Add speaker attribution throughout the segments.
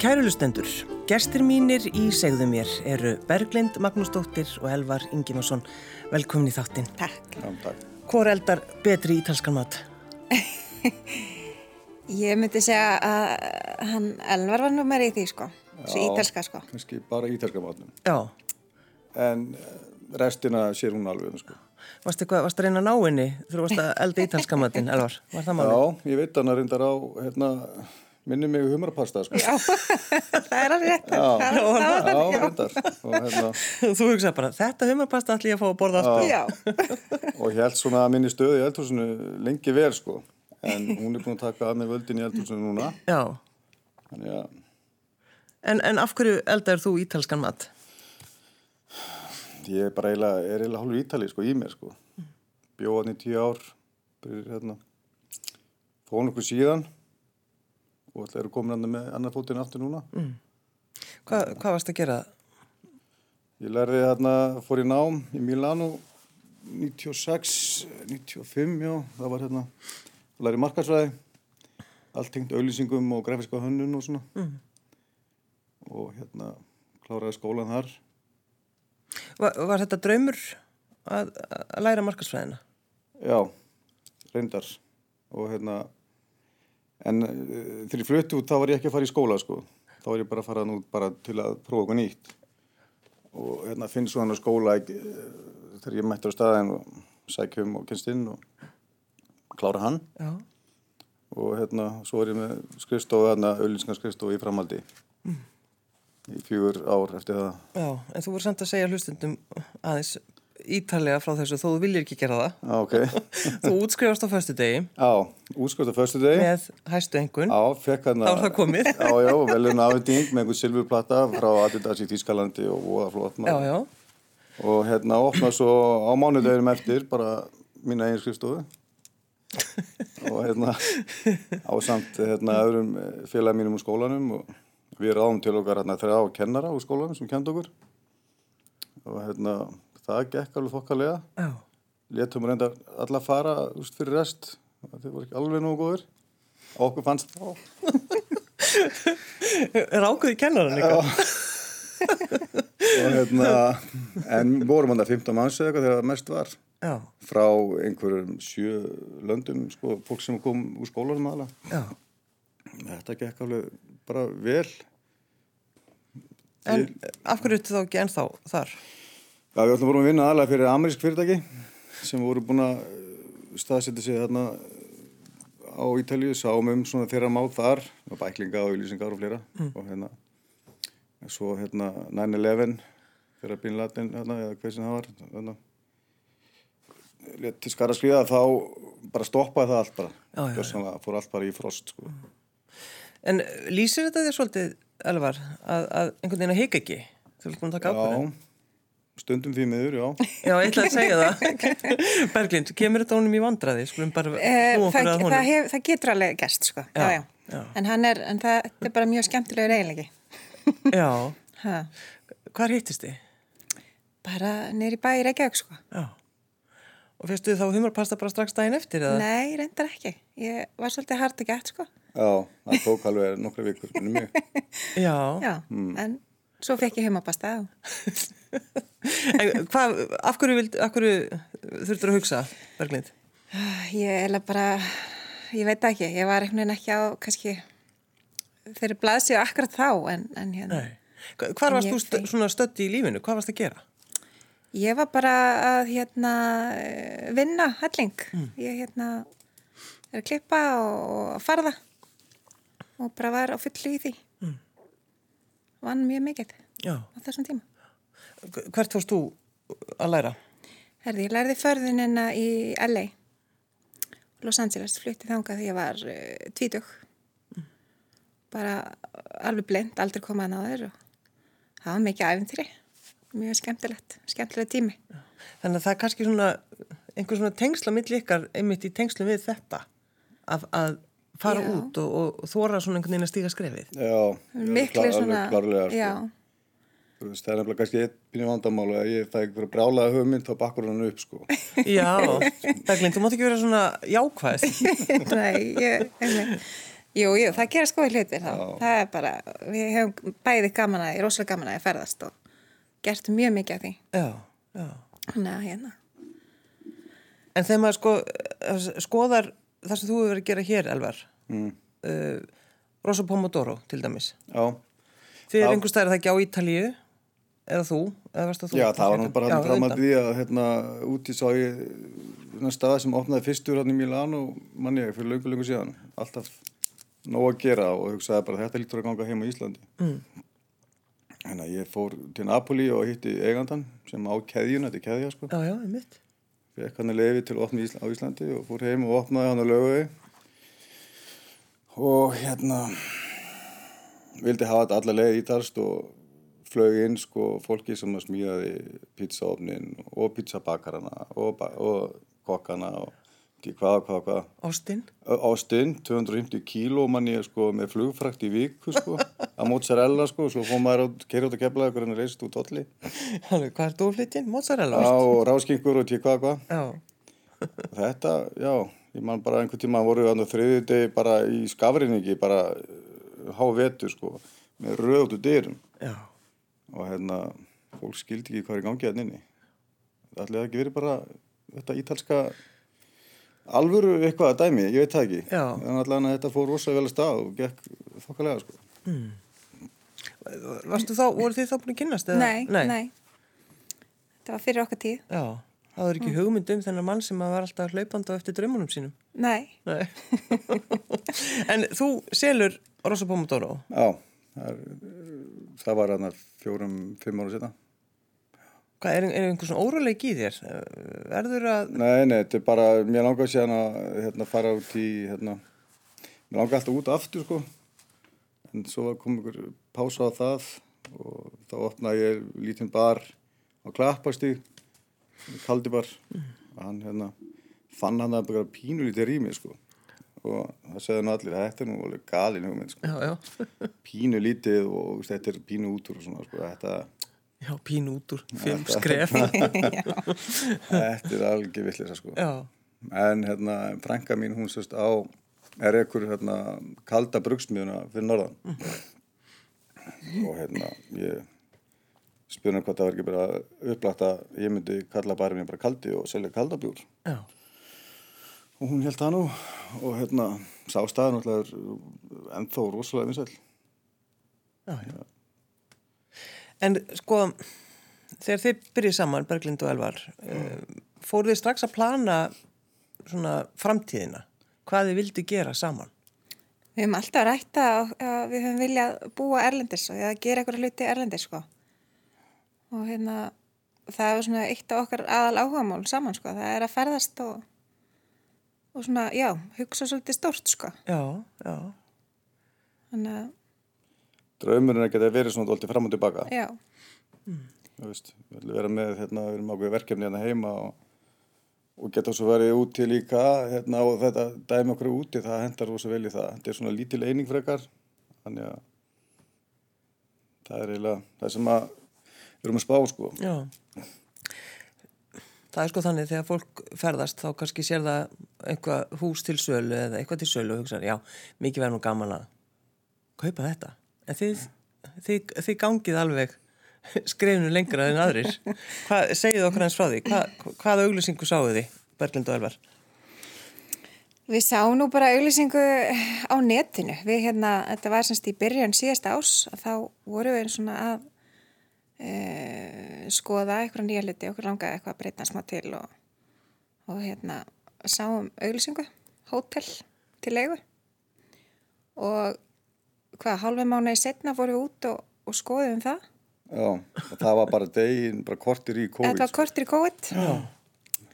Speaker 1: Kærulustendur, gestir mínir í segðu mér eru Berglind Magnúsdóttir og Elvar Ingimarsson. Velkomin í þáttinn.
Speaker 2: Takk.
Speaker 3: Já, takk.
Speaker 1: Hvor eldar betri ítalskan mat?
Speaker 2: Ég myndi segja að hann Elvar var nú meira í því sko, svo
Speaker 3: Já,
Speaker 2: ítalska sko.
Speaker 3: Kannski bara ítalska matnum.
Speaker 1: Já,
Speaker 3: En eh, restina sér hún alveg um, sko.
Speaker 1: varst eitthvað, varst að reyna að ná henni þegar þú varst að elda ítalskan matinn, Elvar? Var það málið?
Speaker 3: Já, ég veit hann að reyndar á, hérna, minni mig humrapasta, sko.
Speaker 2: Já, það er alveg rétt.
Speaker 3: Já.
Speaker 2: það er það var
Speaker 3: Já,
Speaker 2: þannig,
Speaker 3: reyndar. Og, hérna,
Speaker 1: Þú hugsaði bara, þetta hummerpasta ætla ég að fá að borða aftur.
Speaker 2: Já,
Speaker 3: og ég held svona að minni stöðu í eldhúsinu lengi vel, sko. En hún er búin að taka að mér völdin í eldhúsinu núna.
Speaker 1: Já,
Speaker 3: Þannig að,
Speaker 1: en, en af hverju eldar þú ítalskan mat?
Speaker 3: Ég er bara eiginlega, er eiginlega hálfur ítali sko í mér sko. Bjóðan í tíu ár, byrjir hérna, fóðan okkur síðan og alltaf eru komin hann með annar fótinn aftur núna.
Speaker 1: Hva, hvað varst að gera?
Speaker 3: Ég lærði hérna, fór í nám í Milano 96, 95 já, það var hérna, og lærði markarsræði, allt tengt auðlýsingum og grafiska hönnun og svona. Og hérna, kláraði skólan þar.
Speaker 1: Var, var þetta draumur að, að læra markasfræðina?
Speaker 3: Já, reyndar og hérna en eh, þegar ég flutti út þá var ég ekki að fara í skóla sko, þá var ég bara að fara nú bara til að prófa okkur nýtt og hérna finn svo hann á skóla eh, þegar ég mættur á staðin og sækjum og kynst inn og klára hann
Speaker 1: Já.
Speaker 3: og hérna svo var ég með skrifstofu hérna, auðlýskan skrifstofu í framhaldi í fjögur ár eftir það
Speaker 1: Já, en þú voru samt að segja hlustundum aðeins ítalega frá þessu þó þú viljir ekki gera það.
Speaker 3: Já, Ah, ok
Speaker 1: Þú útskrifast á föstu degi
Speaker 3: Já, útskjóta förstu degi
Speaker 1: með hæstu engun.
Speaker 3: Já, fekk hann
Speaker 1: Hm? Þá er það komið.
Speaker 3: Já, já, velun afhending með einhvern silfurplata frá Adidas í Þýskalandi og voða flott
Speaker 1: Já,
Speaker 3: maður.
Speaker 1: já.
Speaker 3: Og hérna opnaði svo á mánudeginum eftir bara mína eigin skrifstofu. og hérna á samt hérna öðrum félagi mínum úr skólanum og við ráðum til okkar hérna þrjá kennara úr skólanum sem kenda okkur. Og hérna það gekk alveg þokkalega.
Speaker 1: Já,
Speaker 3: Létum reyndar alla fara úst fyrir rest. Þeir voru ekki alveg nógu góður. Okkur fannst þá.
Speaker 1: Rákuði kennaran líka.
Speaker 3: og hérna, en vorum hann að 15 manns eða eitthvað þegar það mest var
Speaker 1: Já,
Speaker 3: frá einhverjum sjö löndum, sko, fólk sem kom úr skólanum aðalega.
Speaker 1: já.
Speaker 3: Þetta gekk alveg bara vel.
Speaker 1: En af hverju ertu þá ekki ennþá þar?
Speaker 3: Já, við ætlum vorum að vinna aðalega fyrir amerísk fyrirtæki sem voru búin að eh, staðsetja sig þarna á Ítalíu, sáum um svona þeirra mál þar, og bæklinga og auðlýsingar og fleira
Speaker 1: Mm.
Speaker 3: og hérna, en svo hérna 9-11 þegar Bin Laden, hérna, eða hvað sem það var, hérna, létt til skara skriða þá bara stoppaði það allt bara,
Speaker 1: Já, já, Mm. já.
Speaker 3: Gjörsamlega fór allt bara í frost sko.
Speaker 1: En lýsir þetta þér svolítið, Elvar, að, að einhvern veginn að hika ekki? Þú vilt búin að taka ákveðin?
Speaker 3: Já, stundum því miður, já.
Speaker 1: Já, ég ætla að segja það. Berglind, kemur þetta honum í vandraði? Skulum bara
Speaker 2: Eh,
Speaker 1: nú okkur
Speaker 2: það,
Speaker 1: að
Speaker 2: það,
Speaker 1: honum.
Speaker 2: hef, það getur alveg gæst sko. Já,
Speaker 1: Já,
Speaker 2: já.
Speaker 1: já.
Speaker 2: En, hann er, en það, þetta er bara mjög skemmtilegur eiginlegi.
Speaker 1: Já,
Speaker 2: Ha,
Speaker 1: hvar hittist þið?
Speaker 2: bara niður í bæ í Reykjavík sko.
Speaker 1: Já. Og fyrstu þið þá humorpasta bara strax daginn eftir? Eða?
Speaker 2: Nei, reyndar ekki. Ég var svolítið hard að gætt sko.
Speaker 3: Já, það tók alveg nokkra vikur, minni mig.
Speaker 1: Já.
Speaker 2: Já, en svo fekk ég heimabasta á.
Speaker 1: En hvað, af hverju, vild, af hverju þurftur að hugsa, Berglind?
Speaker 2: Ah, Ég er bara, ég veit það ekki, ég var einhvern veginn ekki á, kannski, þeirri blaðsíu akkurat þá, en, en hérna.
Speaker 1: Nei. Hva- Hvar varst
Speaker 2: Ég
Speaker 1: þú st svona stödd í lífinu? Hvað varst að gera?
Speaker 2: Ég var bara að, hérna, eh, vinna helling. Ég, hérna, er að klippa og, og farða og bara var á fullu í því. Vann mjög mikið
Speaker 1: Já.
Speaker 2: á þessum tíma.
Speaker 1: Hvert fórst þú að læra?
Speaker 2: Herði, ég lærði förðunina í LA, Los Angeles, flutti þangað þegar ég var uh, tvítug. Bara eh, alveg blind, aldrei komaðan á þeir og það var mikið æfintýri, mjög skemmtilegt, skemmtilegt tími.
Speaker 1: Þannig að það er kannski svona einhver svona tengsla mitt líkar einmitt í tengslum við þetta að, að fara
Speaker 2: Já.
Speaker 1: út og, og, þóra svona einhvern veginn að stíga skrefið.
Speaker 3: Já,
Speaker 2: Miklu svona,
Speaker 3: klarlega, sko.
Speaker 2: já,
Speaker 3: Þú veist, Það er nefnilega kannski eitt pínu vandamál og ef ég fæ einhverja brálaða hugmynd þá bakkur hann upp sko.
Speaker 1: Já, Berglind, þú mátt ekki vera svona jákvæð.
Speaker 2: nei, ég, einmitt. Jú, jú, það gerast góði hlutir þá.
Speaker 3: Já.
Speaker 2: Það er bara, við höfum bæði gaman að, rosalega gaman að því að ferðast og gert mjög mikið af því.
Speaker 1: Já, já.
Speaker 2: Þannig að hérna.
Speaker 1: En þegar maður sko, skoðar það sem þú hefur verið að gera hér, Elvar, mm. uh, Rosa Pomodoro til dæmis.
Speaker 3: Já,
Speaker 1: Þið er
Speaker 3: Já.
Speaker 1: einhver staðar það ekki á Ítalíu, eða þú, eða varst það þú?
Speaker 3: já það var nú bara hann fram að
Speaker 1: auðvitað.
Speaker 3: því að hérna úti sá ég svona stað sem opnaði fyrstur hann í Milán og manni ég fyrir löngu löngu síðan. Alltaf nóg að gera og hugsaði bara þetta lítur að ganga heim á Íslandi. Mm. Þannig að ég fór til Napoli og hitti eigandan sem á keðjun, þetta er keðja sko.
Speaker 1: Já, já, einmitt.
Speaker 3: fekk hann að lefi til að opna í Ísla- á Íslandi og fór heim og opnaði hann að lögu og hérna vildi hafa þetta alla leið ítalst og flög inn sko fólki sem að smíðaði pizzaofnin og pizzabakarana og, ba- og kokkana og ekki hvað, hvað, hvað
Speaker 1: Austin.
Speaker 3: á stinn, 250 kíló manni sko með flugfrakt í viku sko að mozzarella sko, svo fór maður að keira út að kefla ykkur en reysist út dolli
Speaker 1: Hannu, hvað er þú flyttin? Mozzarella?
Speaker 3: á ráskingur og ekki hvað, hvað
Speaker 1: Já.
Speaker 3: Þetta, já, ég man bara einhvern tíma voru við annað þriðið degi bara í skafrinningi, bara hávetur sko, með röðutu dyrum
Speaker 1: Já.
Speaker 3: og hérna, fólk skildi ekki hvað er í gangi hérna inni. Það ætlaði ekki verið bara þetta ítalska alvöru eitthvað að dæmi, ég veit það ekki.
Speaker 1: Já.
Speaker 3: En allan að þetta fór rosa vel að stað og gekk þokkalega sko.
Speaker 1: Varstu þá, voru þið þá búin að kynnast? Eða?
Speaker 2: Nei, nei, Þetta var fyrir okkar tíð.
Speaker 1: Já, það
Speaker 2: Mm.
Speaker 1: er ekki hugmynd um þennan mann sem að var alltaf hlaupandi á eftir draumunum sínum.
Speaker 2: Nei.
Speaker 1: Nei. en þú selur Rosa Pomodoro?
Speaker 3: Já, það, er, það var hérna fjórum, fimm ára setna.
Speaker 1: Hvað, er, er einhver svona óróleik í þér? Verður að...
Speaker 3: Nei, nei, þetta er bara, mér langar síðan að hérna, fara út í, hérna, mér langar alltaf út aftur, sko. En svo kom ykkur pása á það og þá opnaði ég lítinn bar á Klappastíg, kaldi bar. Og hann, hérna, fann hann að bara pínu lítið rými, sko. Og það segði nú allir, þetta er nú alveg galin hugmynd, sko.
Speaker 1: Já, já.
Speaker 3: Pínu lítið og þú veist, þetta er pínu út úr og svona, sko. Þetta,
Speaker 1: Já, pín út úr, fimm skref.
Speaker 3: þetta er algjör villisa, sko.
Speaker 1: já,
Speaker 3: En hérna, frænka mín, hún sérst á, er ekkur hérna, kalda brugsmjöðuna fyrir norðan. Og hérna, ég spurði hann hvað það var ekki bara upplagt að ég myndi kalla barinn bara kaldi og selja kaldabjúr.
Speaker 1: já,
Speaker 3: Og hún held það nú og hérna, sá staðan alltaf er ennþá rosalega vinsæl.
Speaker 1: já, já. En sko, þegar þið byrjið saman, Berglind og Elvar, mm. fóruð þið strax að plana svona framtíðina? Hvað þið vildi gera saman?
Speaker 2: Við höfum alltaf rætt að, að við höfum viljað búa erlendis og eða gera eitthvað hluti erlendis sko. Og hérna, það er svona eitt af okkar aðal áhugamál saman sko. Það er að ferðast og, og svona, já, hugsa svolítið stórt sko.
Speaker 1: Já, já,
Speaker 2: Þannig að,
Speaker 3: Draumurinn er ekki að vera svona dólti fram og tilbaka.
Speaker 2: já,
Speaker 3: Þú veist, við ætlum að vera með, hérna, við erum ákveðið verkefni hérna heima og, og geta svo verið úti líka, hérna, og þetta dæmi okkur úti, það hendar rosa vel í það. Þetta er svona lítil eining frekar, þannig að það er eiginlega, það sem að við erum að spá, sko.
Speaker 1: já. Það er sko þannig þegar fólk ferðast þá kannski sér það eitthvað hús til sölu eða eitthvað til sölu og hugsaður, já, mikið verður nú gaman að kaupa þetta. En þið, þið, þið gangið alveg skrefnu lengra en aðrir. Hvað, segið okkur hans frá því, Hvað, hvaða auglýsingu sáuð þið, Berglind og Elvar?
Speaker 2: við sáum nú bara auglýsingu á netinu. Við hérna, þetta var semst í byrjun síðasta ás að þá vorum við svona að e, skoða eitthvað nýja hluti, okkur langaði eitthvað að breyta smá til og, og hérna, sáum auglýsingu, hótel til leigu og hvað, hálfa mánuði setna fórum við út og, og skoðum það.
Speaker 3: Já, og það var bara degin, bara kortir í COVID,
Speaker 2: Þetta var kortir í COVID. Já.
Speaker 3: sko.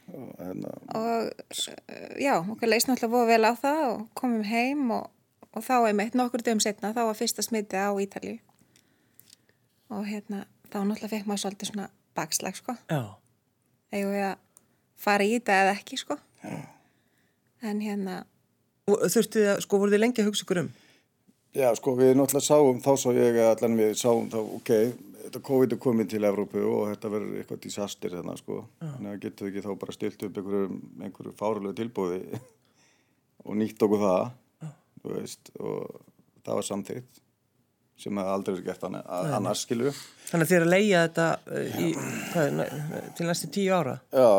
Speaker 3: Og, hérna,
Speaker 2: og eh, já, okkur leist náttúrulega voru vel á það og komum heim og, og þá einmitt nokkur dögum setna þá var fyrsta smitið á Ítalíu og hérna þá náttúrulega fekk maður svolítið svona bakslag sko
Speaker 1: Já,
Speaker 2: eigum við að fara í þetta eða ekki sko en hérna
Speaker 1: og þurftu þið að, sko, voruð þið lengi að hugsa ykkur um?
Speaker 3: Já, sko, við náttúrulega sáum, þá sá ég að allan við sáum þá, ok, þetta COVID er komið til Evrópu og þetta verður eitthvað disaster þarna, sko. Þannig að getum við ekki þá bara stilt upp einhverju, einhverju fárulegu tilbúði og nýtt okkur það. Já. þú veist, og það var samþýtt sem hefði aldrei verið gert annað, annars skilu
Speaker 1: Þannig að þið er að leia þetta uh, í, hvað, er, næ- til næstu tíu ára.
Speaker 3: Já,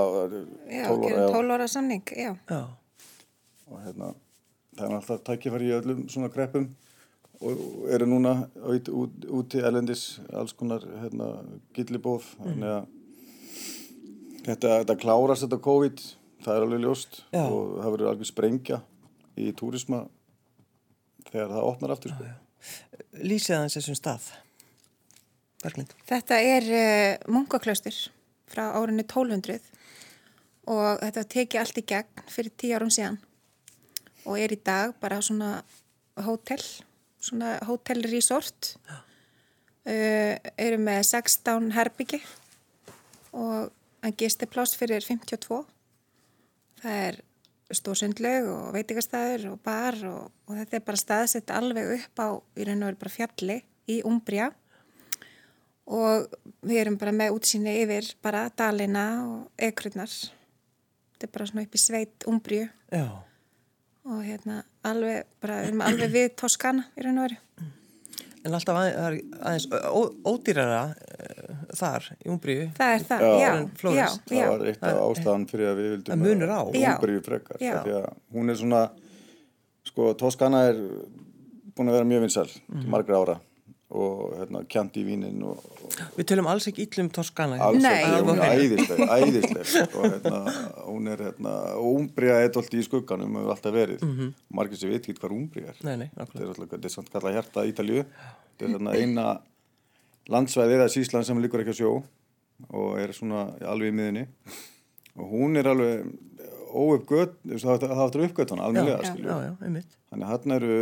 Speaker 2: Já,
Speaker 3: 12 ára,
Speaker 2: gerum 12 ára samning, já.
Speaker 1: Já,
Speaker 3: og hérna, það er alltaf tækifæri í öllum svona greppum og eru núna út, út, úti erlendis alls konar hérna, gillibóð þannig að þetta, þetta klárast þetta COVID það er alveg ljóst
Speaker 1: Já.
Speaker 3: og það verður alveg sprengja í túrisma þegar það opnar aftur sko.
Speaker 1: lýsið hans þessum stað. Berglind.
Speaker 2: Þetta er uh, munkaklaustur frá árinu 1200 og þetta var tekið allt í gegn fyrir tíu árum síðan og er í dag bara svona hótel, svona hótelresort uh, eru með 16 herbyggi og hann gisti pláss fyrir 52 það er stór sundlaug og veitingastæður og bar og, og þetta er bara staðsett alveg upp á í raun og veru bara fjalli í Umbria og við erum bara með útsýni yfir bara dalina og ekrurnar þetta er bara svona upp í sveit umbrju
Speaker 1: Já,
Speaker 2: og hérna alveg, bara við erum alveg við Toskana í raun og veru
Speaker 1: en alltaf að, það er aðeins ó, ódýrara uh, þar í Umbríu.
Speaker 2: það er það,
Speaker 3: Já.
Speaker 2: já,
Speaker 1: En
Speaker 2: já,
Speaker 1: Flórens,
Speaker 2: já,
Speaker 3: það var eitt af ástæðan fyrir að við vildum
Speaker 1: Það munur á.
Speaker 2: Já.
Speaker 3: Ungverju frekar
Speaker 2: Já.
Speaker 3: af því að hún er svona sko Toskana er búin að vera mjög vinsal margra ára og hérna kjandi í vínin og, og
Speaker 1: Við tölum alls ekki illum Toskana.
Speaker 3: Alls
Speaker 2: Nei.
Speaker 3: ekki, hún
Speaker 1: Alveg.
Speaker 3: er æðisleg, æðisleg og hérna, hún er hérna, úmbriða er alltaf í skugganum og hefur alltaf verið, margir sem veit ekki hvað úmbriða er,
Speaker 1: Mhm. Nei, nei,
Speaker 3: þetta
Speaker 1: nákvæmlega.
Speaker 3: er alltaf, þetta er samt kallað hjarta Ítalju, þetta er hérna eina landsvæðið að Sísland sem líkur ekki á sjó og er svona alveg í miðunni og hún er alveg óuppgöt, það það áttur uppgöt hann almennilega,
Speaker 1: já,
Speaker 3: skilju,
Speaker 1: já, já, einmitt.
Speaker 3: þannig að hann eru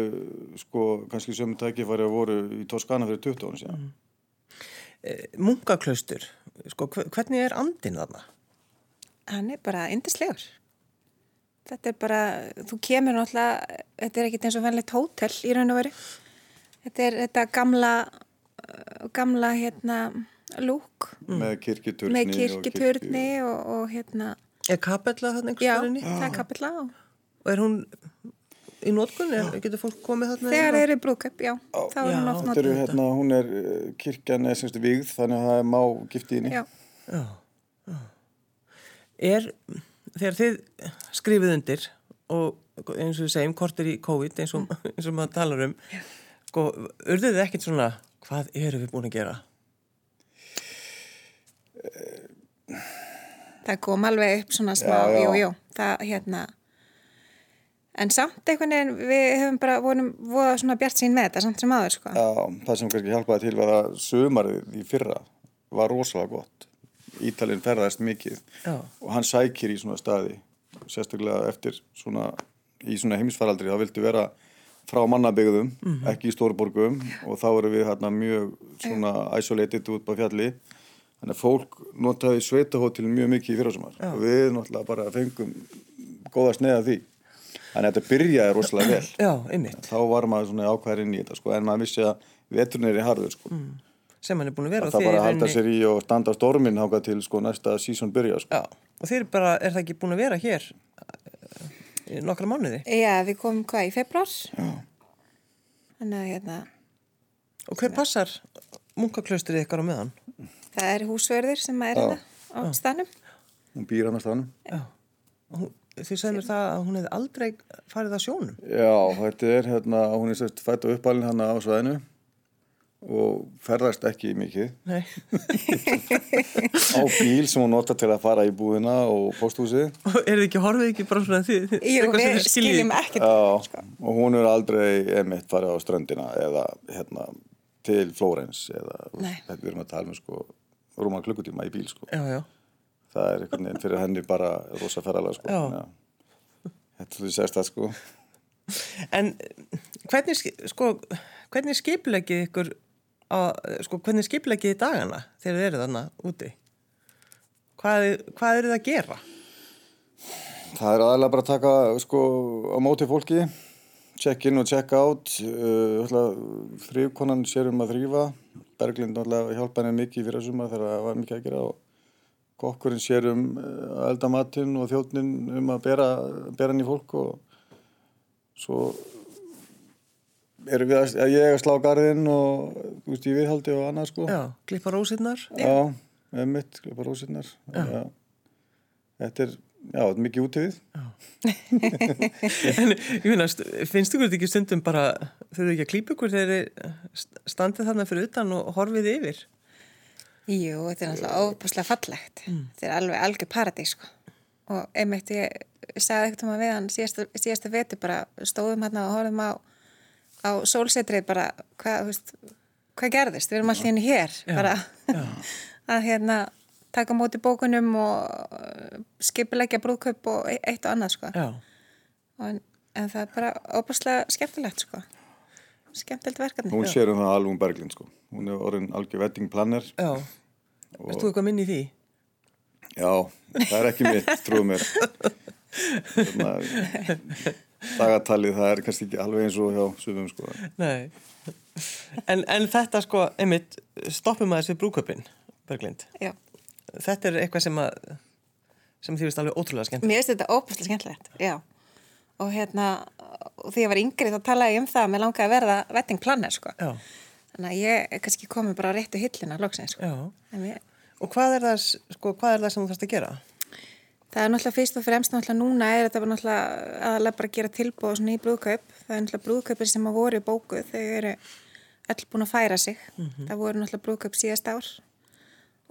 Speaker 3: sko, kannski sömu tækifæri að voru í Toskana fyrir 20 árum
Speaker 1: Mhm.
Speaker 3: síðan
Speaker 1: Eh, Munkaklaustur, sko, hve- hvernig er andin þarna?
Speaker 2: hann er bara yndislegur þetta er bara, þú kemur náttúrulega þetta er ekkit eins og venlegt hótel í raun og veru þetta er þetta gamla uh, gamla hérna lúk
Speaker 1: Mhm.
Speaker 3: með kirkiturni
Speaker 2: með
Speaker 3: og kirkju-
Speaker 2: kirkiturni og, og hérna
Speaker 1: Er kapella þarna einhvers
Speaker 2: já,
Speaker 1: staðinni?
Speaker 2: það er kapilla og
Speaker 1: Og er hún í nótkunni? Getur fólk komið þarna?
Speaker 2: Þegar þeir eru brúköp, já, þá er hún
Speaker 1: Já.
Speaker 2: oft
Speaker 3: Þetta eru
Speaker 2: notuð.
Speaker 3: hérna, hún er, eh, kirkjan er semst vigð, þannig að það er má giftið inni.
Speaker 2: Já,
Speaker 1: Já, já. Er, þegar þið skrifið undir og eins og við segjum, kortir í COVID eins og, eins og maður talar um, sko, urðuð þið ekkert svona, hvað eru við búin að gera?
Speaker 2: það kom alveg upp svona smá,
Speaker 3: Já, já.
Speaker 2: jú, jú, það hérna. En samt einhvern veginn, við höfum bara, vorum, voða svona bjart sín með þetta, samt sem aður, sko.
Speaker 3: Já, það sem kannski hjálpaði til var að sömarið í fyrra var rosalega gott. Ítalinn ferðast mikið
Speaker 1: Já.
Speaker 3: og hann sækir í svona staði, sérstaklega eftir svona, í svona heimsfaraldri, þá viltu vera frá mannabegðum, ekki í stórborgum og þá eru við hérna mjög svona isolated út á fjalli. Þannig að fólk notaði sveitahótil mjög mikið í fyrrasumar og við náttúrulega bara fengum góða sneið af því. Þannig að þetta byrjaði rosalega vel
Speaker 1: Já, einmitt,
Speaker 3: þá var maður svona ákvæðar inn í þetta sko, en maður vissi að veturinn er í harður sko.
Speaker 1: sem hann er búin að vera. Mm. og
Speaker 3: það
Speaker 1: þið
Speaker 3: bara
Speaker 1: í
Speaker 3: að halda
Speaker 1: rauninni-
Speaker 3: sér í og standa á stormin háka til sko, næsta sísón byrja sko.
Speaker 1: Já, og þið eru bara, er það ekki búin að vera hér eh, í nokkra mánuði?
Speaker 2: Já, við komum hvað í februar? Já. Þannig að hérna,
Speaker 1: Og hver passar munkaklaustrið ykkar á meðan?
Speaker 2: það er húsverður sem er þetta á stanum.
Speaker 3: hún býr annars þannig
Speaker 1: Já. Hún, þið segir mér það að hún hefði aldrei farið að sjónum.
Speaker 3: já, þetta er hérna, hún er sérst fætt á uppalinn hann hérna á svæðinu og ferðast ekki mikið
Speaker 1: Nei.
Speaker 3: á bíl sem hún nota til að fara í búðina og posthúsið
Speaker 1: Og er þið ekki, horfið ekki bara svona þið?
Speaker 2: Jú,
Speaker 1: eitthvað sem
Speaker 2: við
Speaker 1: þið skiljið?
Speaker 2: skiljum ekkert.
Speaker 3: Já, og hún er aldrei emitt farið á ströndina eða hérna, til Flórens eða
Speaker 2: Nei.
Speaker 3: þetta við erum að tala um sko, rúma klukkutíma í bíl sko.
Speaker 1: Já, já.
Speaker 3: það er einhvern veginn fyrir henni bara rosa ferðalega sko.
Speaker 1: Já.
Speaker 3: Þetta er því sérst það sko.
Speaker 1: En eh, hvernig, ski- sko, hvernig skiplegið ykkur, á, sko, hvernig skiplegið í dagana þegar þið eru þarna úti? Hvað, hvað eru það að gera?
Speaker 3: Það er aðalega bara að taka sko, á móti fólki, check in og check out, uh, þrýkonan sér um að þrýfa, Berglind náttúrulega hjálpa henni mikið fyrir þessum að þegar það var mikið að gera og kokkurinn sér um eh, að elda matinn og þjóttnin um að bera, bera hann í fólk og svo erum við að, ég er að slá garðinn og þú veist, ég viðhaldi og annað sko.
Speaker 1: Já, klippa rósinnar.
Speaker 3: Já, með mitt, bara rósirnar. Já. Þetta er, já, þetta er mikið útífið.
Speaker 1: en ég finnast, finnst ykkur þetta ekki stundum bara, þau eru ekki að klípa ykkur þegar þið standið þarna fyrir utan og horfið yfir?
Speaker 2: Jú, þetta er náttúrulega óbúslega fallegt. Þetta er alveg algjör paradís, sko. Og einmitt, ég sagði ekkert um að við hann síðasta, síðasta veti bara stóðum hann og horfum á, á sólsetrið bara, hvað, þú veist, hvað gerðist? Við erum alltaf henni hér, bara að hérna taka á móti bókunum og uh, skipulegja brúðkaup og e- eitt og annað, sko.
Speaker 1: Já.
Speaker 2: En, en það er bara óbúslega skemmtilegt, sko. Skemmtilegt verkefni.
Speaker 3: Hún sér um það alveg um Berglind, sko. Hún er orðin algjör wedding planner.
Speaker 1: Já. Erst þú eitthvað minni í því?
Speaker 3: Já, það er ekki mitt, trúið mér. Þannig dagatalið, það er kannski ekki alveg eins og hjá sumum, sko.
Speaker 1: Nei. En, en þetta sko, einmitt, stoppum aðeins við brúköpinn, Berglind.
Speaker 2: Já.
Speaker 1: Þetta er eitthvað sem að, sem þið veist alveg ótrúlega skemmt.
Speaker 2: Mér finnst þetta óbúslega skemmtilegt, já. Og hérna, og því ég var yngri þá talaði ég um það að mér langaði að verða wedding planner, sko.
Speaker 1: Já.
Speaker 2: Þannig að ég er kannski komið bara á réttu hillina loksins, sko.
Speaker 1: Já.
Speaker 2: En ég,
Speaker 1: Og hvað er það, s- sko, hvað er það sem þú þarfst að gera?
Speaker 2: það er náttúrulega fyrst og fremst náttúrulega núna er þetta bara náttúrulega aðalega bara að gera tilbúið svona í brúðkaup. Það er náttúrulega brúðkaupir sem að voru í bóku þau eru öll búin að færa sig.
Speaker 1: Mhm.
Speaker 2: Það voru náttúrulega brúðkaup síðast ár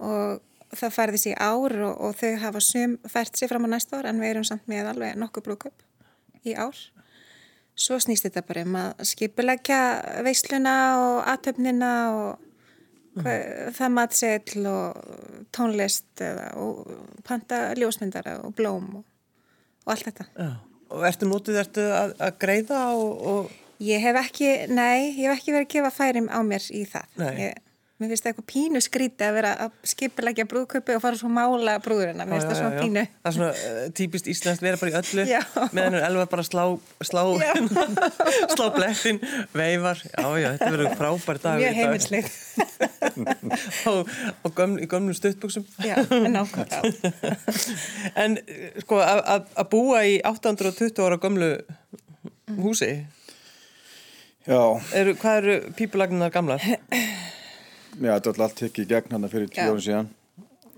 Speaker 2: og það færði sig í ár og, og þau hafa sum fært sig fram á næsta ár en við erum samt með alveg nokkuð brúðkaup í ár. svo snýst þetta bara um að skipulegja veisluna og aðtöfnina og
Speaker 1: Mm.
Speaker 2: hva, það matseðl og tónlist eða, og panta ljósmyndara og blóm og, og allt þetta.
Speaker 1: Já. Og ertu nótið, ertu að, að greiða og, og,
Speaker 2: Ég hef ekki, nei, ég hef ekki verið að gefa færim á mér í það.
Speaker 1: Nei.
Speaker 2: Ég, mér finnst það eitthvað pínu skríti að vera að skipulegja brúðkaupi og fara svo að mála brúðurina. Mér finnst
Speaker 1: Já,
Speaker 2: það
Speaker 1: já,
Speaker 2: svona
Speaker 1: já.
Speaker 2: pínu.
Speaker 1: Það er svona uh, típist íslenskt vera bara í öllu
Speaker 2: Já.
Speaker 1: meðan er elva bara að slá slá,
Speaker 2: Já.
Speaker 1: slá blettin, veifar Já, já, þetta verður frábær dag
Speaker 2: Mjög
Speaker 1: í dag.
Speaker 2: heimilslið.
Speaker 1: og, og göml, í gömlum stuttbuksum
Speaker 2: Já, nákvæmt, já.
Speaker 1: En eh, sko að- að að búa í 820 ára gömlu húsi
Speaker 3: Já,
Speaker 1: eru, hvað eru pípulagnar gamlar?
Speaker 3: já þetta er alltaf ekki í gegn hana fyrir
Speaker 2: Já.
Speaker 3: tíu árum síðan.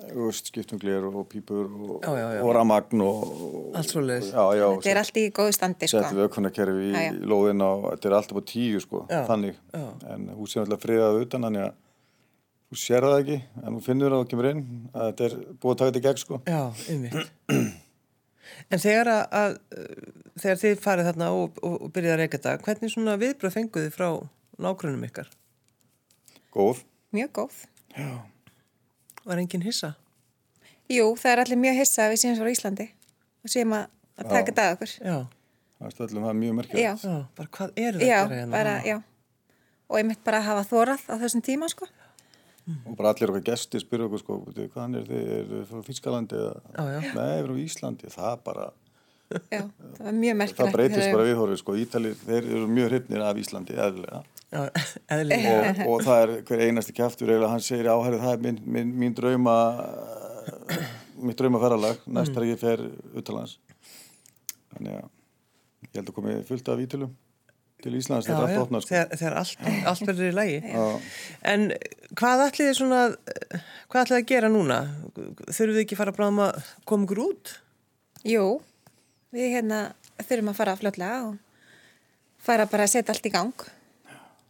Speaker 3: Þú veist, skiptunglir og pípur og,
Speaker 1: Já, já, já.
Speaker 3: og ramagn og... og-
Speaker 1: Allt svoleiðis.
Speaker 3: Já, já.
Speaker 2: Þetta er allt í góðu standi, sko.
Speaker 3: settu vökunarkerfi í
Speaker 2: Já, já.
Speaker 3: lóðin á, þetta er alltaf á tíu sko,
Speaker 1: Já,
Speaker 3: þannig, en húsið er alltaf friðað utan, þannig að þú sér það ekki, en þú finnur það og kemur inn að þetta er búið að taka þetta í gegn sko.
Speaker 1: Já, einmitt En þegar að, að eh, þegar þið farið þarna og, og, og byrjið að reyka þetta hvernig svona viðbröð fenguð þið frá nágrunum ykkar?
Speaker 3: Góð,
Speaker 2: Mjög góð.
Speaker 1: Var enginn hissa?
Speaker 2: Jú, það er allir mjög hissa að við séum svo á Íslandi og séum að, að taka þetta að okkur.
Speaker 1: Já,
Speaker 3: það er stöldum það er mjög
Speaker 2: Já,
Speaker 3: merkilegt.
Speaker 1: já, bara hvað eru
Speaker 2: já,
Speaker 1: þetta hérna?
Speaker 2: bara, já. Og einmitt bara að hafa þórað á þessum tíma, sko.
Speaker 3: Og bara allir okkar gesti spyrja okkur sko, "Bíddu, hvaðan er þið, er þið frá Fískalandi eða,
Speaker 1: Já, já.
Speaker 3: nei, við erum í Íslandi, það bara,
Speaker 2: Já, það var mjög merkilegt.
Speaker 3: það breytist
Speaker 2: þegar-
Speaker 3: bara viðhorfið sko, Ítalir, þeir eru mjög hrypnir af Íslandi, eðlilega.
Speaker 1: já, eðlilega
Speaker 3: og, og það er hver einasti kjæftur eiginlega hann segir áhærið það er minn, minn, mín drauma mitt draumaferralag
Speaker 1: Mm.
Speaker 3: næst þegar ég fer uttalands þannig að ég held að komi fullt af ítölum til Íslands þegar allt opnar sko.
Speaker 1: þegar, þegar allt, allt verður í lagi
Speaker 3: Já.
Speaker 1: en hvað ætlið þið svona uh, hvað ætlið þið að gera núna þurfum við ekki að fara að bráðum að koma ykkur út
Speaker 2: Jú, við hérna þurfum að fara fljótlega og fara bara að setja allt í gang.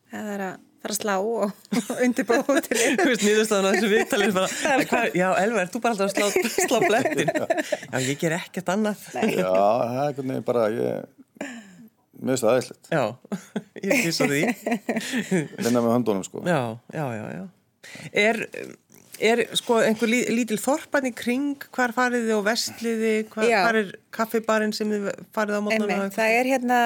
Speaker 2: Það er að fara að slá og undirbúa hótelið.
Speaker 1: Þú veist, nýðurstofan á þessu viðtalið bara, hvað, já, Elva, ert þú bara alltaf að slá, slá blettin já, ég ger ekkert annað
Speaker 3: já, það er einhvern veginn bara ég, mér finnst það aðeinslegt
Speaker 1: já, ég kýsa því
Speaker 3: vinna með höndunum sko
Speaker 1: já, já, já, já er, er sko einhver lí, lítil þorpan í kring hvar farið þið og vestliði hvar,
Speaker 2: Já.
Speaker 1: hvar er kaffibarinn sem þið farið á mótnana
Speaker 2: Einmitt, það er hérna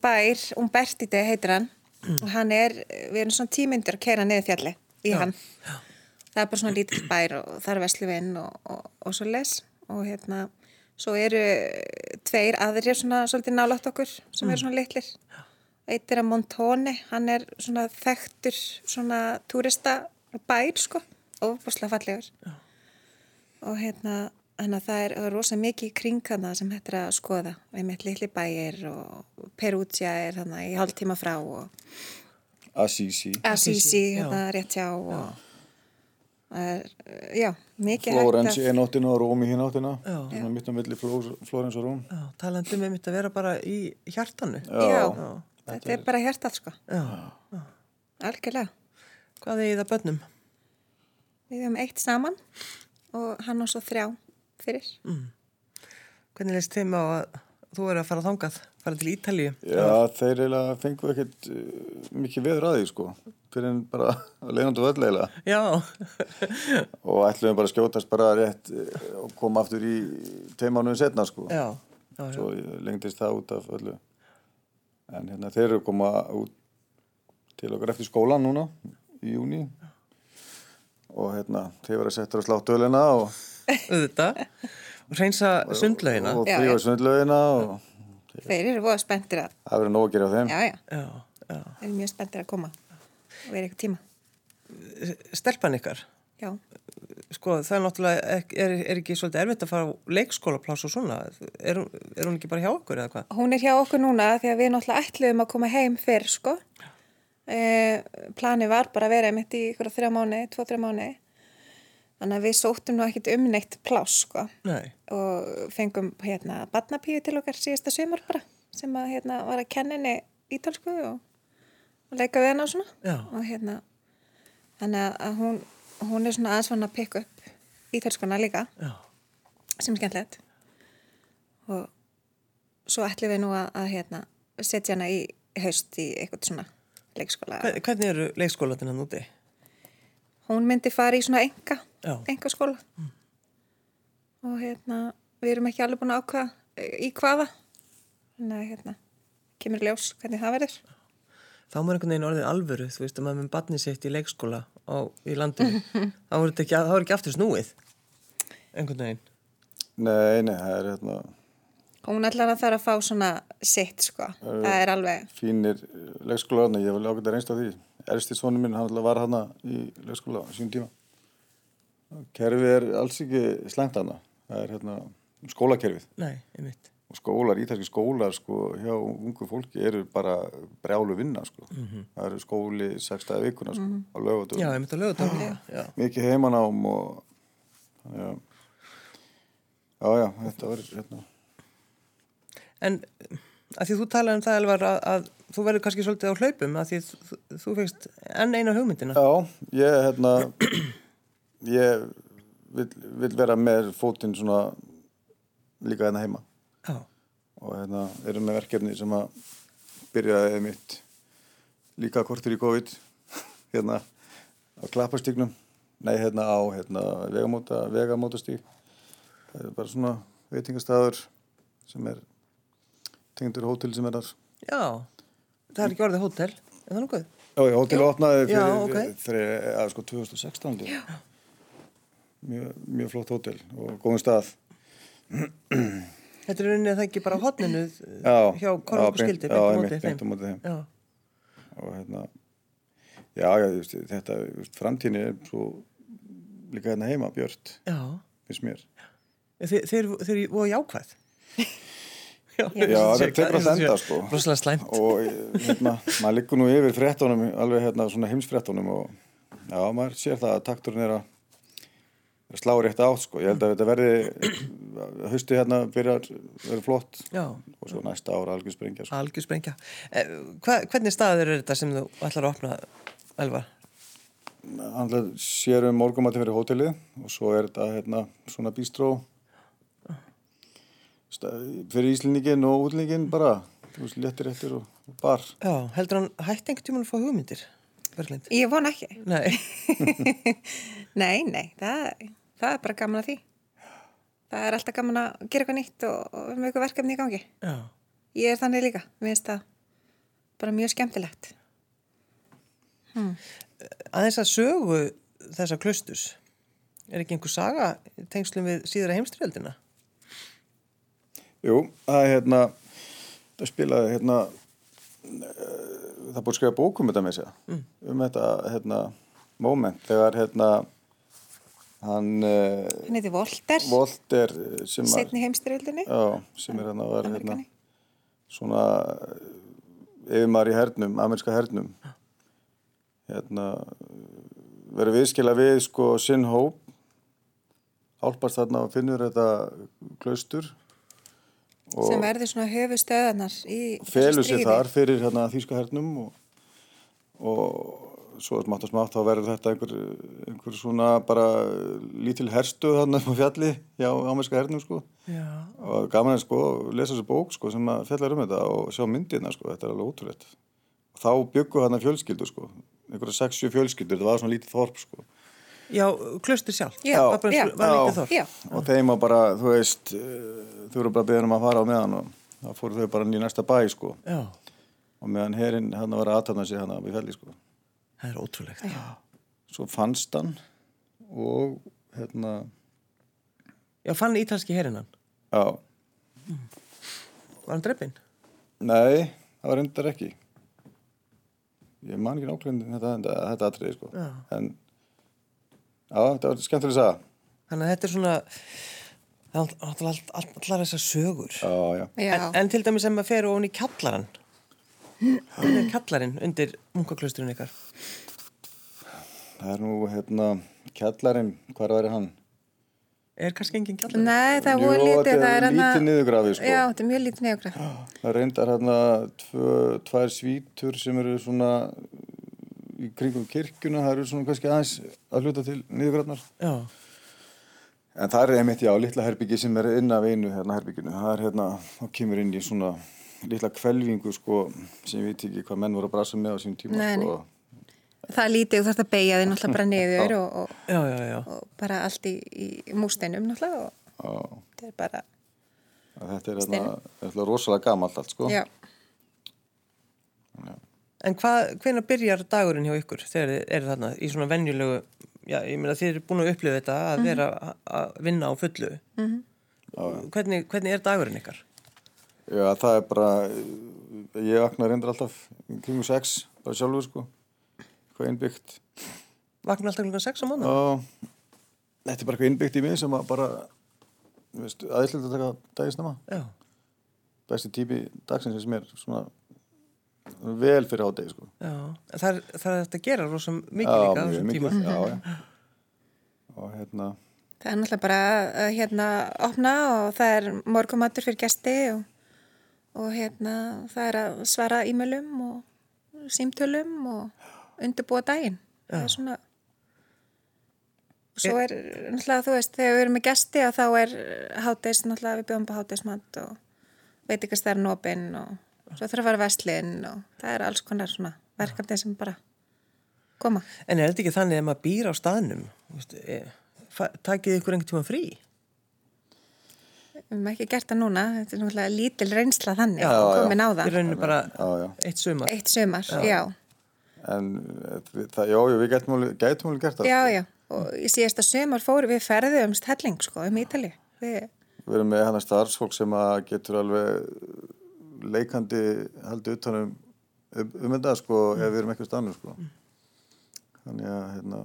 Speaker 2: bær, Umbertite heitir hann og hann er, við erum svona tímyndur að keira niður fjalli í hann það er bara svona lítill bær og það er Vesluvinn og, og, og svo les og hérna, svo eru tveir aðrir svona svolítið nálátt okkur sem eru svona litlir eitt er að Montone, hann er svona þekktur svona túrista bær sko, ofbúslega fallegur og hérna Þannig að það er það er rosa mikið kring hana sem hættir að skoða. Við mitt litli bæir og Perugia er þannig í hálftíma frá og
Speaker 3: Assisi,
Speaker 2: Assisi,
Speaker 1: já.
Speaker 2: hérna rétt hjá og það er, eh, já, mikið
Speaker 3: Flórens
Speaker 2: hægt að...
Speaker 3: einn áttina og Róm í hinn áttina
Speaker 1: Já.
Speaker 3: Svona mitt á milli Flórens og Róm
Speaker 1: Já, talandi með mitt að vera bara í hjartanu.
Speaker 3: Já.
Speaker 2: Já,
Speaker 3: Þetta
Speaker 2: þetta er bara hjartað sko,
Speaker 1: Já.
Speaker 2: algjörlega.
Speaker 1: Hvað er í það bönnum?
Speaker 2: Við höfum eitt saman og hann og svo þrjá fyrir.
Speaker 1: Hvernig leist þeim á að þú er að fara þangað, fara til Ítalíu?
Speaker 3: Já, þeir eiginlega fengu ekkert uh, mikið veður að því sko fyrir en bara leiðandu völl eiginlega
Speaker 1: Já,
Speaker 3: og ætlum bara að skjótast bara rétt eh, og koma aftur í teimanum setna sko
Speaker 1: já, já, já.
Speaker 3: svo lengdist það út af öllu en hérna þeir eru að koma út til okkar eftir skólan núna í júni og hérna þeir vera settur á sláttuðlina og,
Speaker 1: auðvitað. Og reynsa sundlaugina.
Speaker 3: og
Speaker 2: Já,
Speaker 3: frí á
Speaker 2: já.
Speaker 3: svindlaugina og
Speaker 2: Þeir eru voða spenntir að,
Speaker 3: það verður nóg að gera á þeim
Speaker 2: já, já,
Speaker 1: Já, já.
Speaker 2: þeir eru mjög spenntir að koma og vera eitthvað tíma.
Speaker 1: Stelpan ykkar,
Speaker 2: Já,
Speaker 1: sko það er náttúrulega, ek- er, er ekki svolítið erfitt að fara á leikskólapláss og svona? Er, hún- er hún ekki bara hjá okkur eða hvað?
Speaker 2: hún er hjá okkur núna því að við náttúrulega ætluðum að koma heim fyrr, sko. Eh, plani var bara að vera einmitt í ykkur þrjá mánuði, tvo-þrjá mánuði. Þannig að við sóttum nú ekkit um neitt pláss, sko.
Speaker 1: Nei,
Speaker 2: Og fengum hérna badnapíu til okkar síðasta sömur bara sem að hérna var að kenna henni ítalsku og, og leika við henni og svona.
Speaker 1: já,
Speaker 2: og hérna þannig að- að hún, hún er svona aðeins fann að pikka upp ítalskuna líka
Speaker 1: já,
Speaker 2: sem er skemmtilegt og svo ætlum við nú að, að hérna, setja hana í haust í eitthvað svona leikskóla
Speaker 1: Hver- Hvernig eru leikskólatina núti?
Speaker 2: hún myndi fara í svona enga
Speaker 1: Já. Mm.
Speaker 2: enga skóla og hérna við erum ekki alveg búin að ákvaða eh, í hvaða þannig að hérna kemur í ljós hvernig það verður
Speaker 1: Þá er maður einhvern veginn orðin alvöru, þú veist, að maður með barni sitt í leikskóla á, í landinu. þá er þetta ekki, þá er ekki aftur snúið. Einhvern veginn.
Speaker 3: Nei, nei, það er hérna
Speaker 2: hún ætlar að þarf að fá svona sitt sko, það er alveg
Speaker 3: fínir leikskólarna, ég var ákveðið að reynst á því Ersti sonu minn, hann alltaf var hana í leikskóla á sín tíma Kerfið er alls ekki slengt hana, það er hérna skólakerfið
Speaker 1: Nei, einmitt.
Speaker 3: og skólar, ítalski skólar sko, hjá ungu fólki eru bara brjálu vinna sko. það eru skóli sextaði vikuna sko, á lögatum,
Speaker 1: Já, einmitt á lögutöfum. Já,
Speaker 3: mikið heimanám og já já, já, þetta var hérna.
Speaker 1: En að því þú talaði um það alvar að, að þú verður kannski svolítið á hlaupum að því þú, þú fegst enn eina hugmyndina.
Speaker 3: já, ég hérna ég vil, vil vera með fótinn svona líka hérna heima
Speaker 1: Já.
Speaker 3: og hérna erum með verkefni sem að byrjaði mitt líka kortur í COVID hérna á klapparstíknum nei hérna á hérna vegamóta, vegamótastík það er bara svona veitingastæður sem er tengdur hótel sem er þar
Speaker 1: Já. Það er ekki orðið hótel, er það nokkuð?
Speaker 3: Já, já, hótel opnaði fyrir,
Speaker 1: Já, ok.
Speaker 3: fyrir að, sko, 2016 held ég. mjög, mjög flott hótel og góðum stað
Speaker 1: Þetta er rauninni að það ekki bara á hotninu
Speaker 3: Já,
Speaker 1: hjá Kornokku skildi, beint
Speaker 3: já,
Speaker 1: á móti
Speaker 3: einmitt, beint á
Speaker 1: þeim.
Speaker 3: móti þeim.
Speaker 1: Já,
Speaker 3: og hérna já, já þú veist, þetta þú veist, framtíðin er svo líka hérna heima björt,
Speaker 1: já.
Speaker 3: finnst mér
Speaker 1: Þeir, þeir, þeir voru jákvæð. Já,
Speaker 3: Já, þetta er bara að senda, sko.
Speaker 1: Róslega slæmt.
Speaker 3: og eh, hérna, maður liggur nú yfir fréttunum, alveg hérna svona heimsfréttunum og já, maður sér það að takturinn er að er að slá rétt átt, sko, ég held að þetta verði hausti hérna byrjar verður flott
Speaker 1: Já.
Speaker 3: og svo næsta ára algjör sprengja, sko.
Speaker 1: Algjör sprengja. Eh, Hva, hvernig staður er þetta sem þú ætlar að opna, Elvar?
Speaker 3: hann ætlar- sér um morgumati fyrir hótelið og svo er þetta hérna svona bístró Sta- fyrir íslendingin og útlendingin bara, þú veist, léttir eftir og, og bar
Speaker 1: Já, heldur hann hætti einhvern tímann að fá hugmyndir, Berglind?
Speaker 2: ég von ekki
Speaker 1: Nei,
Speaker 2: nei, nei, það, það er bara gaman að því. Það er alltaf gaman að gera eitthvað nýtt og, og með eitthvað verkefni í gangi.
Speaker 1: já,
Speaker 2: Ég er þannig líka, mér finnst það bara mjög skemmtilegt.
Speaker 1: aðeins að sögu þessa klusturs. Er ekki einhver saga í tengslum við síðara heimstriöldina?
Speaker 3: Jú, það er hérna það spilaði hérna eh, það er búið að skrifa Um bókum þetta með sig mm. um þetta hérna moment þegar hérna hann uh,
Speaker 2: Hann heiti Volter,
Speaker 3: Volter eh, sem, var-
Speaker 2: setni heimstyrjöldinni.
Speaker 3: já, sem er hérna, var, hérna
Speaker 2: Ameríkani.
Speaker 3: svona yfirmar í hernum, amerska hernum hérna verið viðskila við sko sinn hóp álpast þarna og finnur þetta klaustur
Speaker 2: sem verður svona höfu stöðanar í þessu
Speaker 3: felur sig
Speaker 2: stríði.
Speaker 3: þar fyrir hérna, þýska hernum og, og svo smátt og smátt þá verður þetta einhver, einhver svona bara lítil herstuð hann upp á fjalli hjá ámerska hernum sko
Speaker 1: Já.
Speaker 3: og gaman er sko að lesa þessu bók sko sem að fjallar um þetta og sjá myndina sko, þetta er alveg ótrúleitt og þá byggu hann að fjölskyldu sko einhverja 60 fjölskyldur, þetta var svona lítið þorp sko
Speaker 1: Já, klustur sjálf.
Speaker 2: Já,
Speaker 1: Var bara-
Speaker 2: já.
Speaker 1: Var lítið þorp.
Speaker 2: Já.
Speaker 3: og þeim var bara, þú veist eh, þau voru bara beðin um að fara á meðan og þá fóru þau bara inn í næsta bæ sko
Speaker 1: Já,
Speaker 3: og meðan herinn hann var að aðtöfna sig hann að við fjalli sko
Speaker 1: það er ótrúlegt. Já.
Speaker 3: svo fannst hann og hérna
Speaker 1: fann ítalski herinnan.
Speaker 3: já,
Speaker 1: Var hann dreppin?
Speaker 3: nei, það var reyndar ekki ég man ekki nákvæmlega um þetta, þetta, þetta atriði sko
Speaker 1: Já.
Speaker 3: en já, þetta var skemmtileg saga
Speaker 1: Þannig að þetta er svona, það er all- all- all- allar þessar sögur.
Speaker 3: já, já,
Speaker 2: Já,
Speaker 1: En, en til dæmis ef maður fer ofan í kjallaran. Hvernig er kjallarinn undir munkaklausturinn ykkar?
Speaker 3: það er nú hérna kjallarinn, hvar var hann
Speaker 1: Er kannski engin kjallarinn?
Speaker 2: nei, það er
Speaker 3: Jú,
Speaker 2: voru lítið,
Speaker 3: þetta
Speaker 2: það
Speaker 3: er
Speaker 2: er hana...
Speaker 3: lítið niðurgrafið, sko.
Speaker 2: Já, þetta er mjög lítið niðurgraf.
Speaker 3: það reyndar hérna tvö, tvær svítur sem eru svona í kringum kirkjuna, það eru svona kannski aðeins að hluta til niðurgrafnar
Speaker 1: Já,
Speaker 3: En það er einmitt, já, litla herbyggi sem er inn af einu hérna herbygginu. Það er hérna, þá kemur inn í svona litla kvelvingu, sko, sem ég veit ekki hvað menn voru að brasa með á sínum tíma,
Speaker 2: Nei,
Speaker 3: sko.
Speaker 2: Það er lítið og þarf að beigja þig náttúrulega bara niður og, og,
Speaker 1: já, já, já.
Speaker 2: og bara allt í, í músteinum náttúrulega og
Speaker 3: Á,
Speaker 2: þetta er bara,
Speaker 3: að þetta er hérna, þetta er rosalega gamalt allt, sko.
Speaker 2: já.
Speaker 1: En hvað, hvenær byrjar dagurinn hjá ykkur þegar þið eru þarna í svona venjulegu, já, ég meina þið eru búin að upplifa þetta að vera a- að vinna á fullu. hvernig, hvernig er dagurinn ykkar?
Speaker 3: Já, það er bara, ég vakna reyndar alltaf í kringum sex, bara sjálfur, sko, hvað innbyggt.
Speaker 1: Vakna alltaf klukkan 6 á mánu?
Speaker 3: Já, þetta er bara hvað innbyggt í mig sem að bara, þú veist, aðeinslega að taka dagisnama.
Speaker 1: Já.
Speaker 3: Besti típi dagsins sem er svona vel fyrir ádegi, sko.
Speaker 1: Já, En það er, það er þetta að gera rosa mikið
Speaker 3: Já,
Speaker 1: líka á
Speaker 3: mjög
Speaker 1: þessum
Speaker 3: mikið,
Speaker 1: tíma.
Speaker 3: já, já. og hérna
Speaker 2: Það er náttúrulega bara að hérna opna og það er morgumatur fyrir gesti og, og hérna það er að svara e-mailum og símtölum og undirbúa daginn. Það er svona... Svo er náttúrulega, þú veist, þegar við erum með gesti að þá er hátis, náttúrulega við bjóðum bara hátismat og veit ekki að það er nópinn og svo þarf að fara vestlinn og það er alls konar svona verkefni sem bara koma.
Speaker 1: En er þetta ekki þannig að maður býr á staðnum? Þú veist, eh, fa- Takið ykkur einhvern tíma frí?
Speaker 2: Við hefum ekki gert það núna, þetta er náttúrulega lítil reynsla þannig
Speaker 1: Já,
Speaker 2: að
Speaker 3: já.
Speaker 2: komin á
Speaker 1: Í
Speaker 2: það.
Speaker 1: rauninu bara
Speaker 3: já, já.
Speaker 1: eitt sumar.
Speaker 2: Eitt sumar, já. Já,
Speaker 3: en eh, við- það, já, já, við gætum alveg, gætum alveg gert það
Speaker 2: já.
Speaker 3: sko.
Speaker 2: Og í síðasta sumar fórum við ferðið um stelling, sko, um Ítali. Við,
Speaker 3: við erum með hann að starfsfólk sem að getur alveg leikandi haldið utanum um þetta sko ef við erum eitthvað stannum sko þannig að hérna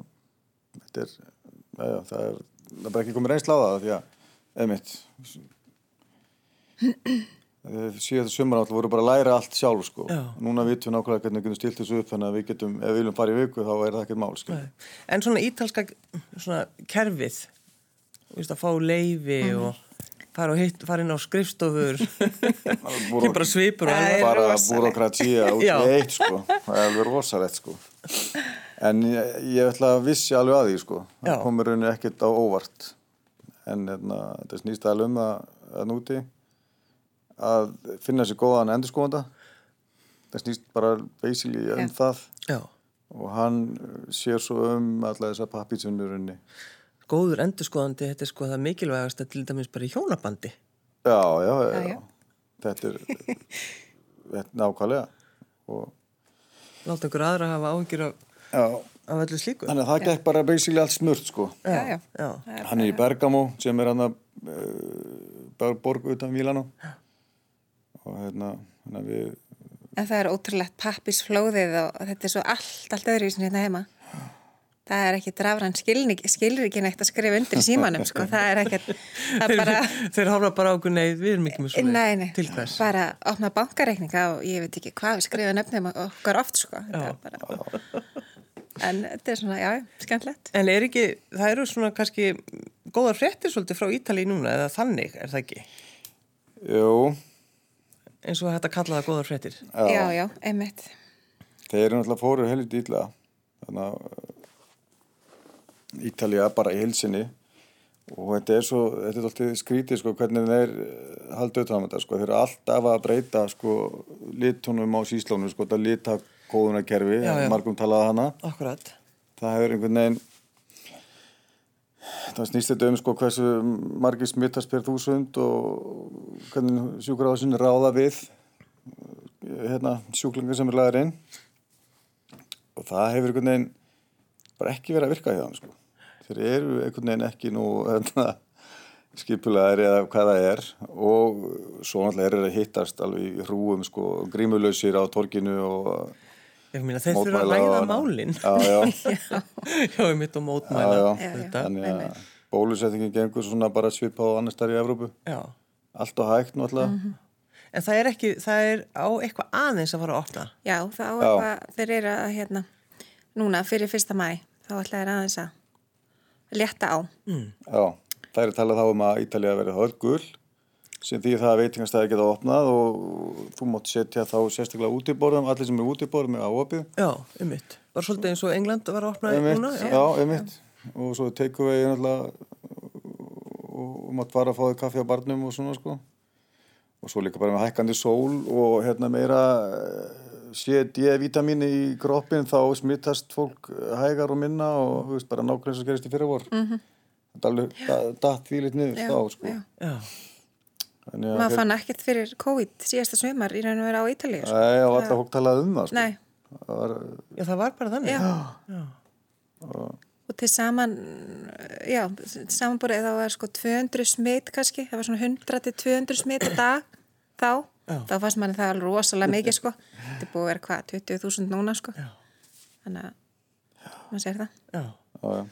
Speaker 3: þetta er, já, já, það er það er bara ekki komið reynsla á það því að eða mitt síðan sumar áttu voru bara að læra allt sjálf sko
Speaker 1: Já.
Speaker 3: núna vitum við nákvæmlega hvernig við getum stilt þessu upp þannig að við getum, ef við viljum fara í viku þá er það ekkert mál sko
Speaker 1: Nei. En svona ítalska svona kerfið, þú veist að fá leifi
Speaker 2: Mhm.
Speaker 1: og fara, og hitt, fara inn á skrifstofur, ekki bara svipur og alveg.
Speaker 3: bara
Speaker 2: rosalegt.
Speaker 3: búrokratía út í
Speaker 1: Já.
Speaker 3: eitt sko, það er alveg rosalegt sko en ég, ég ætla að vissi alveg að því sko,
Speaker 1: Já.
Speaker 3: það komur henni ekkert á óvart en hérna, þetta snýst alveg um að að núti að finna sér góðan endurskóðanda það snýst bara basically um
Speaker 2: Já.
Speaker 3: það
Speaker 1: Já,
Speaker 3: og hann uh, sér svo um alla þessa pappítsunurinni
Speaker 1: góður endurskoðandi, þetta er sko það mikilvægast að til dæmis bara í hjónabandi.
Speaker 3: já, já, já,
Speaker 2: Já,
Speaker 3: já,
Speaker 2: já.
Speaker 3: þetta er þetta er nákvæmlega og
Speaker 1: Láta ykkur aðra hafa áhyggjur af,
Speaker 3: já
Speaker 1: af öllu slíku.
Speaker 3: Þannig að það gekk bara basically allt smurt sko.
Speaker 2: já, já.
Speaker 1: Já,
Speaker 3: Hann er í Bergamo sem er hann að eh, borg utan Mílanu og hérna, hérna við
Speaker 2: En það er ótrúlegt pappisflóðið og þetta er svo allt, allt öðru í sinni hérna heima. það er ekki drafran skilrikin eitt að skrifa undir í símanum sko, það er ekki það er bara,
Speaker 1: Þeir horfa bara á okkur, nei, við erum ekki með svona
Speaker 2: nei, nei
Speaker 1: til hvers.
Speaker 2: bara opna bankareikninga og ég veit ekki hvað við skrifa nefnum okkar oft sko Þetta er bara, en þetta er svona, já, skemmtilegt
Speaker 1: En er ekki, það eru svona kannski góðar fréttir svolítið frá Ítali núna eða þannig, er það ekki?
Speaker 3: Jú,
Speaker 1: Eins og hægt að kalla það góðar fréttir.
Speaker 3: Já.
Speaker 2: já, já, einmitt
Speaker 3: þeir eru náttúrulega fóru helviti illa þannig að uh, Ítalía bara í hilsinni og þetta er svo, þetta er alltaf skrítið sko hvernig þeir uh, halda utan um þetta sko, þeir eru alltaf að breyta sko litunum á síslónum sko, þetta litakóðunarkerfi,
Speaker 1: Já, já.
Speaker 3: margum talaði hana
Speaker 1: Akkurat.
Speaker 3: það hefur einhvern veginn það snýst þetta um sko hversu margir smittast per þúsund og hvernig sjúkrahásin ráða við eh, hérna, sjúklingar sem er lagðar inn og það hefur einhvern veginn bara ekki verið að virka hjá þeim sko. þeir eru einhvern veginn ekki nú hérna, skipulaðir eða hvað það er og svo náttúrulega eru þeir að hittast alveg í hrúum sko, grímulausir á torginu og
Speaker 1: Ég meina, þeir þurfa að ræða málinn.
Speaker 3: Já, já
Speaker 1: Já, ég mitt og mótmæla
Speaker 3: Já,
Speaker 2: já.
Speaker 1: þetta.
Speaker 3: þannig að bólusettingin gengur svona bara svipa á annar starf í Evrópu
Speaker 1: Já.
Speaker 3: allt og hægt náttúrulega
Speaker 1: En það er ekki, það er á eitthvað aðeins að fara að opna.
Speaker 2: Já, þá er
Speaker 3: Já.
Speaker 2: það, þeir eru að hérna, núna fyrir fyrsta mæ, þá ætla þeir aðeins að létta á.
Speaker 3: Mm. já, það er talað þá um að Ítalía verið hörgul sem því það að veitingastæði geta opnað og þú mátt setja þá sérstaklega útiborðum allir sem eru útiborðum er áopið
Speaker 1: Já, um mitt. Var svolítið eins og England var að opna núna.
Speaker 3: einmitt, já, einmitt og svo teikum við náttúrulega og, og maður bara að fá þig kaffi á barnum og svona sko og svo líka bara með hækkandi sól og hérna meira eh, séð D-vitamíni í kroppin þá smittast fólk hægar og minna og þú veist bara nákvæmlega eins og gerist í fyrir vor mm -hmm. þetta er alveg da- datt því lit niður
Speaker 2: Já,
Speaker 3: þá sko
Speaker 2: já.
Speaker 1: Já.
Speaker 3: Þannig að
Speaker 2: Maður
Speaker 3: þeir-
Speaker 2: fann ekkert fyrir COVID síðasta sumar í raun og vera á Ítalíu. Sko.
Speaker 3: Nei, og alla fólk talaði um það sko
Speaker 2: Nei,
Speaker 3: það var,
Speaker 1: Já, það var bara þannig.
Speaker 2: já. Og til saman, já, samanbúrið þá er sko 200 smitt kannski, það var svona 100 til 200 smitt á dag þá. Þá fannst manni það alveg rosalega mikið sko. Þetta er búið að vera hvað, 20.000 núna sko. Þannig að maður sér það.
Speaker 1: Já.
Speaker 3: já, já.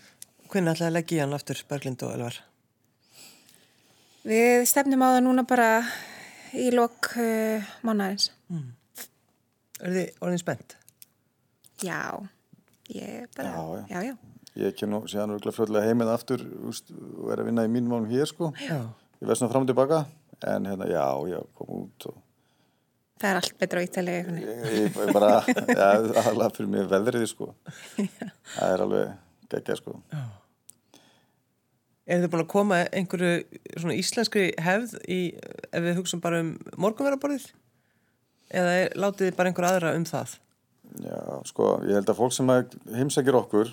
Speaker 1: Hvernig ætlaði að leggja í hann aftur, Berglind og Elvar?
Speaker 2: Við stefnum á það núna bara í lok uh, mánarins.
Speaker 1: Er þið orðin spennt?
Speaker 2: Já, ég bara,
Speaker 3: Já, já.
Speaker 2: já, já.
Speaker 3: ég kem nú síðan örgulega fljóðlega heiminn aftur úst, og er að vinna í mínum málum hér sko
Speaker 1: Já.
Speaker 3: ég verð svona fram og tilbaka en hérna, já, já, kom út og
Speaker 2: Það er allt betra á Ítalíu einhvern veginn.
Speaker 3: ég, ég ég bara, já, aðalega fyrir mig veðrið sko, það er alveg geggja sko,
Speaker 1: Er þið búin að koma einhverju svona íslenskri hefð í, ef við hugsaum bara um morgunveraborðið? Eða er, látið þið bara einhver aðra um það?
Speaker 3: já, sko ég held að fólk sem að heimsækir okkur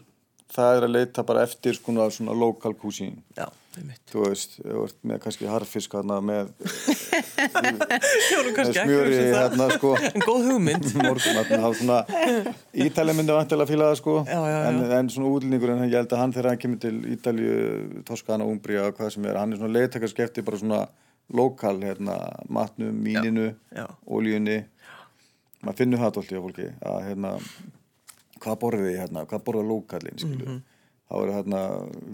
Speaker 3: það er að leita bara eftir sko svona lokal kúsín,
Speaker 1: Já, um mitt.
Speaker 3: þú veist ef þú ert með kannski harfisk hana með,
Speaker 1: Ég voru
Speaker 3: með
Speaker 1: kannski ekki að
Speaker 3: smjöri
Speaker 1: hugsa um það.
Speaker 3: hérna sko
Speaker 1: En góð hugmynd.
Speaker 3: morgun það var svona Ítalja myndi vantilega fíla það sko
Speaker 1: Já, já, já.
Speaker 3: En, en svona útlýningur en ég held að hann þegar hann kemur til Ítalju Toskana, Umbria og hvað sem er hann er svona leiðtakarskefti bara svona lokal hérna, matnum, míninu
Speaker 1: Já, já.
Speaker 3: olíunni maður finnur það alltaf á fólki að hérna hvað borðið hérna, hvað borða lókallin skilju,
Speaker 1: Mhm.
Speaker 3: þá eru hérna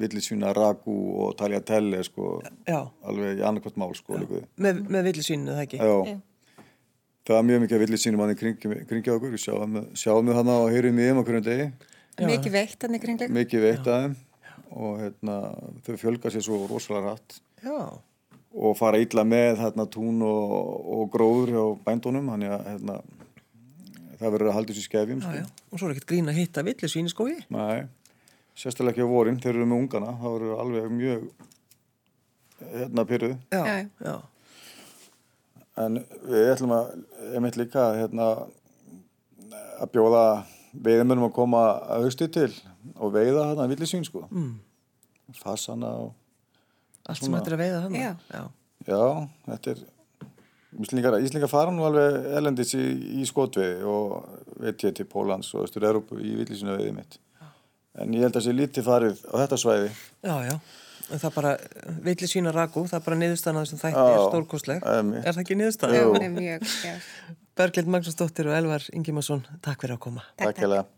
Speaker 3: villisvína ragu og talja telli sko,
Speaker 1: Já,
Speaker 3: alveg í annarkvæmt mál sko líkuði
Speaker 1: með, með villisvínu, það ekki?
Speaker 3: Já. Það var mjög mikið að villið sínum hann í kringi, kringi okkur, sjáum, sjáum við hann og heyrum við um okkur um degi,
Speaker 2: Mikið veitt hann í kringleik.
Speaker 3: mikið veitt að þeim og hérna, þau fjölga sér svo rosalega rætt
Speaker 1: Já.
Speaker 3: og fara illa með hérna, tún og, og gróður hjá bændunum, þannig að hérna, það verður að halda þessu í skefjum.
Speaker 1: Já,
Speaker 3: Sko.
Speaker 1: já. Og svo er ekkert grín að hitta sko, villisvínu skói.
Speaker 3: Nei, sérstaklega ekki á vorin, þeir eru með ungana, það verður alveg mjög hérna pyrruð.
Speaker 1: Já,
Speaker 2: Já, já.
Speaker 1: já.
Speaker 3: En við ætlum að, einmitt líka, hérna, að bjóða veiðmennum að koma að hausti til og veiða þarna villisvín, sko. Mm. Fassana og,
Speaker 1: Allt sem hættir að veiða hann.
Speaker 2: Já.
Speaker 3: já, þetta er, Íslingar, Íslingar fara nú alveg erlendis í, í skotveiði og veit ég til Pólans og Östur Európu í villisvínu veiði mitt. En ég held að sé lítið farið á þetta svæði.
Speaker 1: Já, já. En það bara, villi sína ragu, það er bara niðurstaðan að þessum þætti
Speaker 3: Já,
Speaker 1: er stórkostleg.
Speaker 3: einmitt.
Speaker 1: Er það ekki
Speaker 2: Já,
Speaker 1: niðurstaðan?
Speaker 2: hún er mjög, já.
Speaker 1: Berglind Magnúsdóttir og Elvar Ingimarsson, takk fyrir að koma.
Speaker 3: Takk, Takk.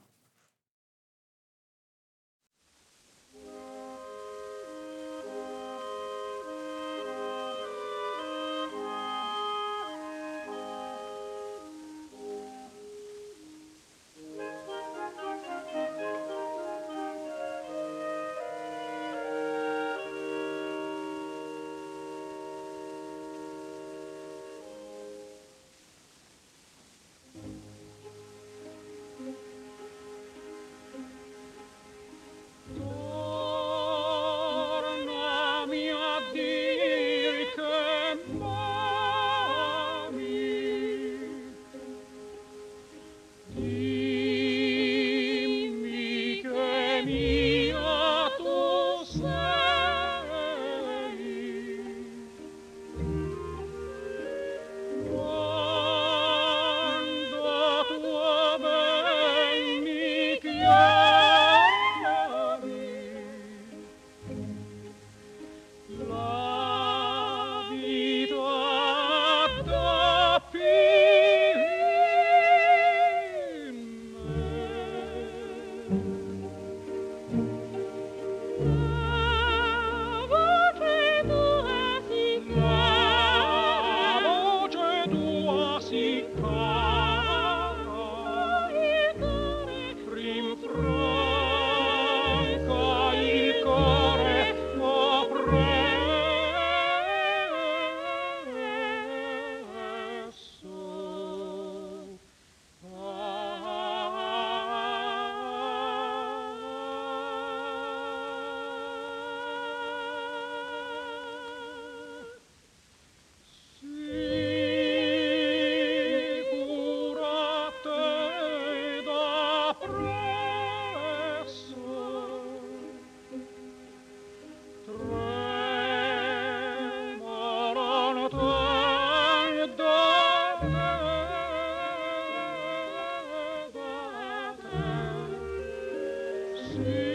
Speaker 4: in Franca il cuore può presso andar. Sicura te da presso Tremolano te da te da te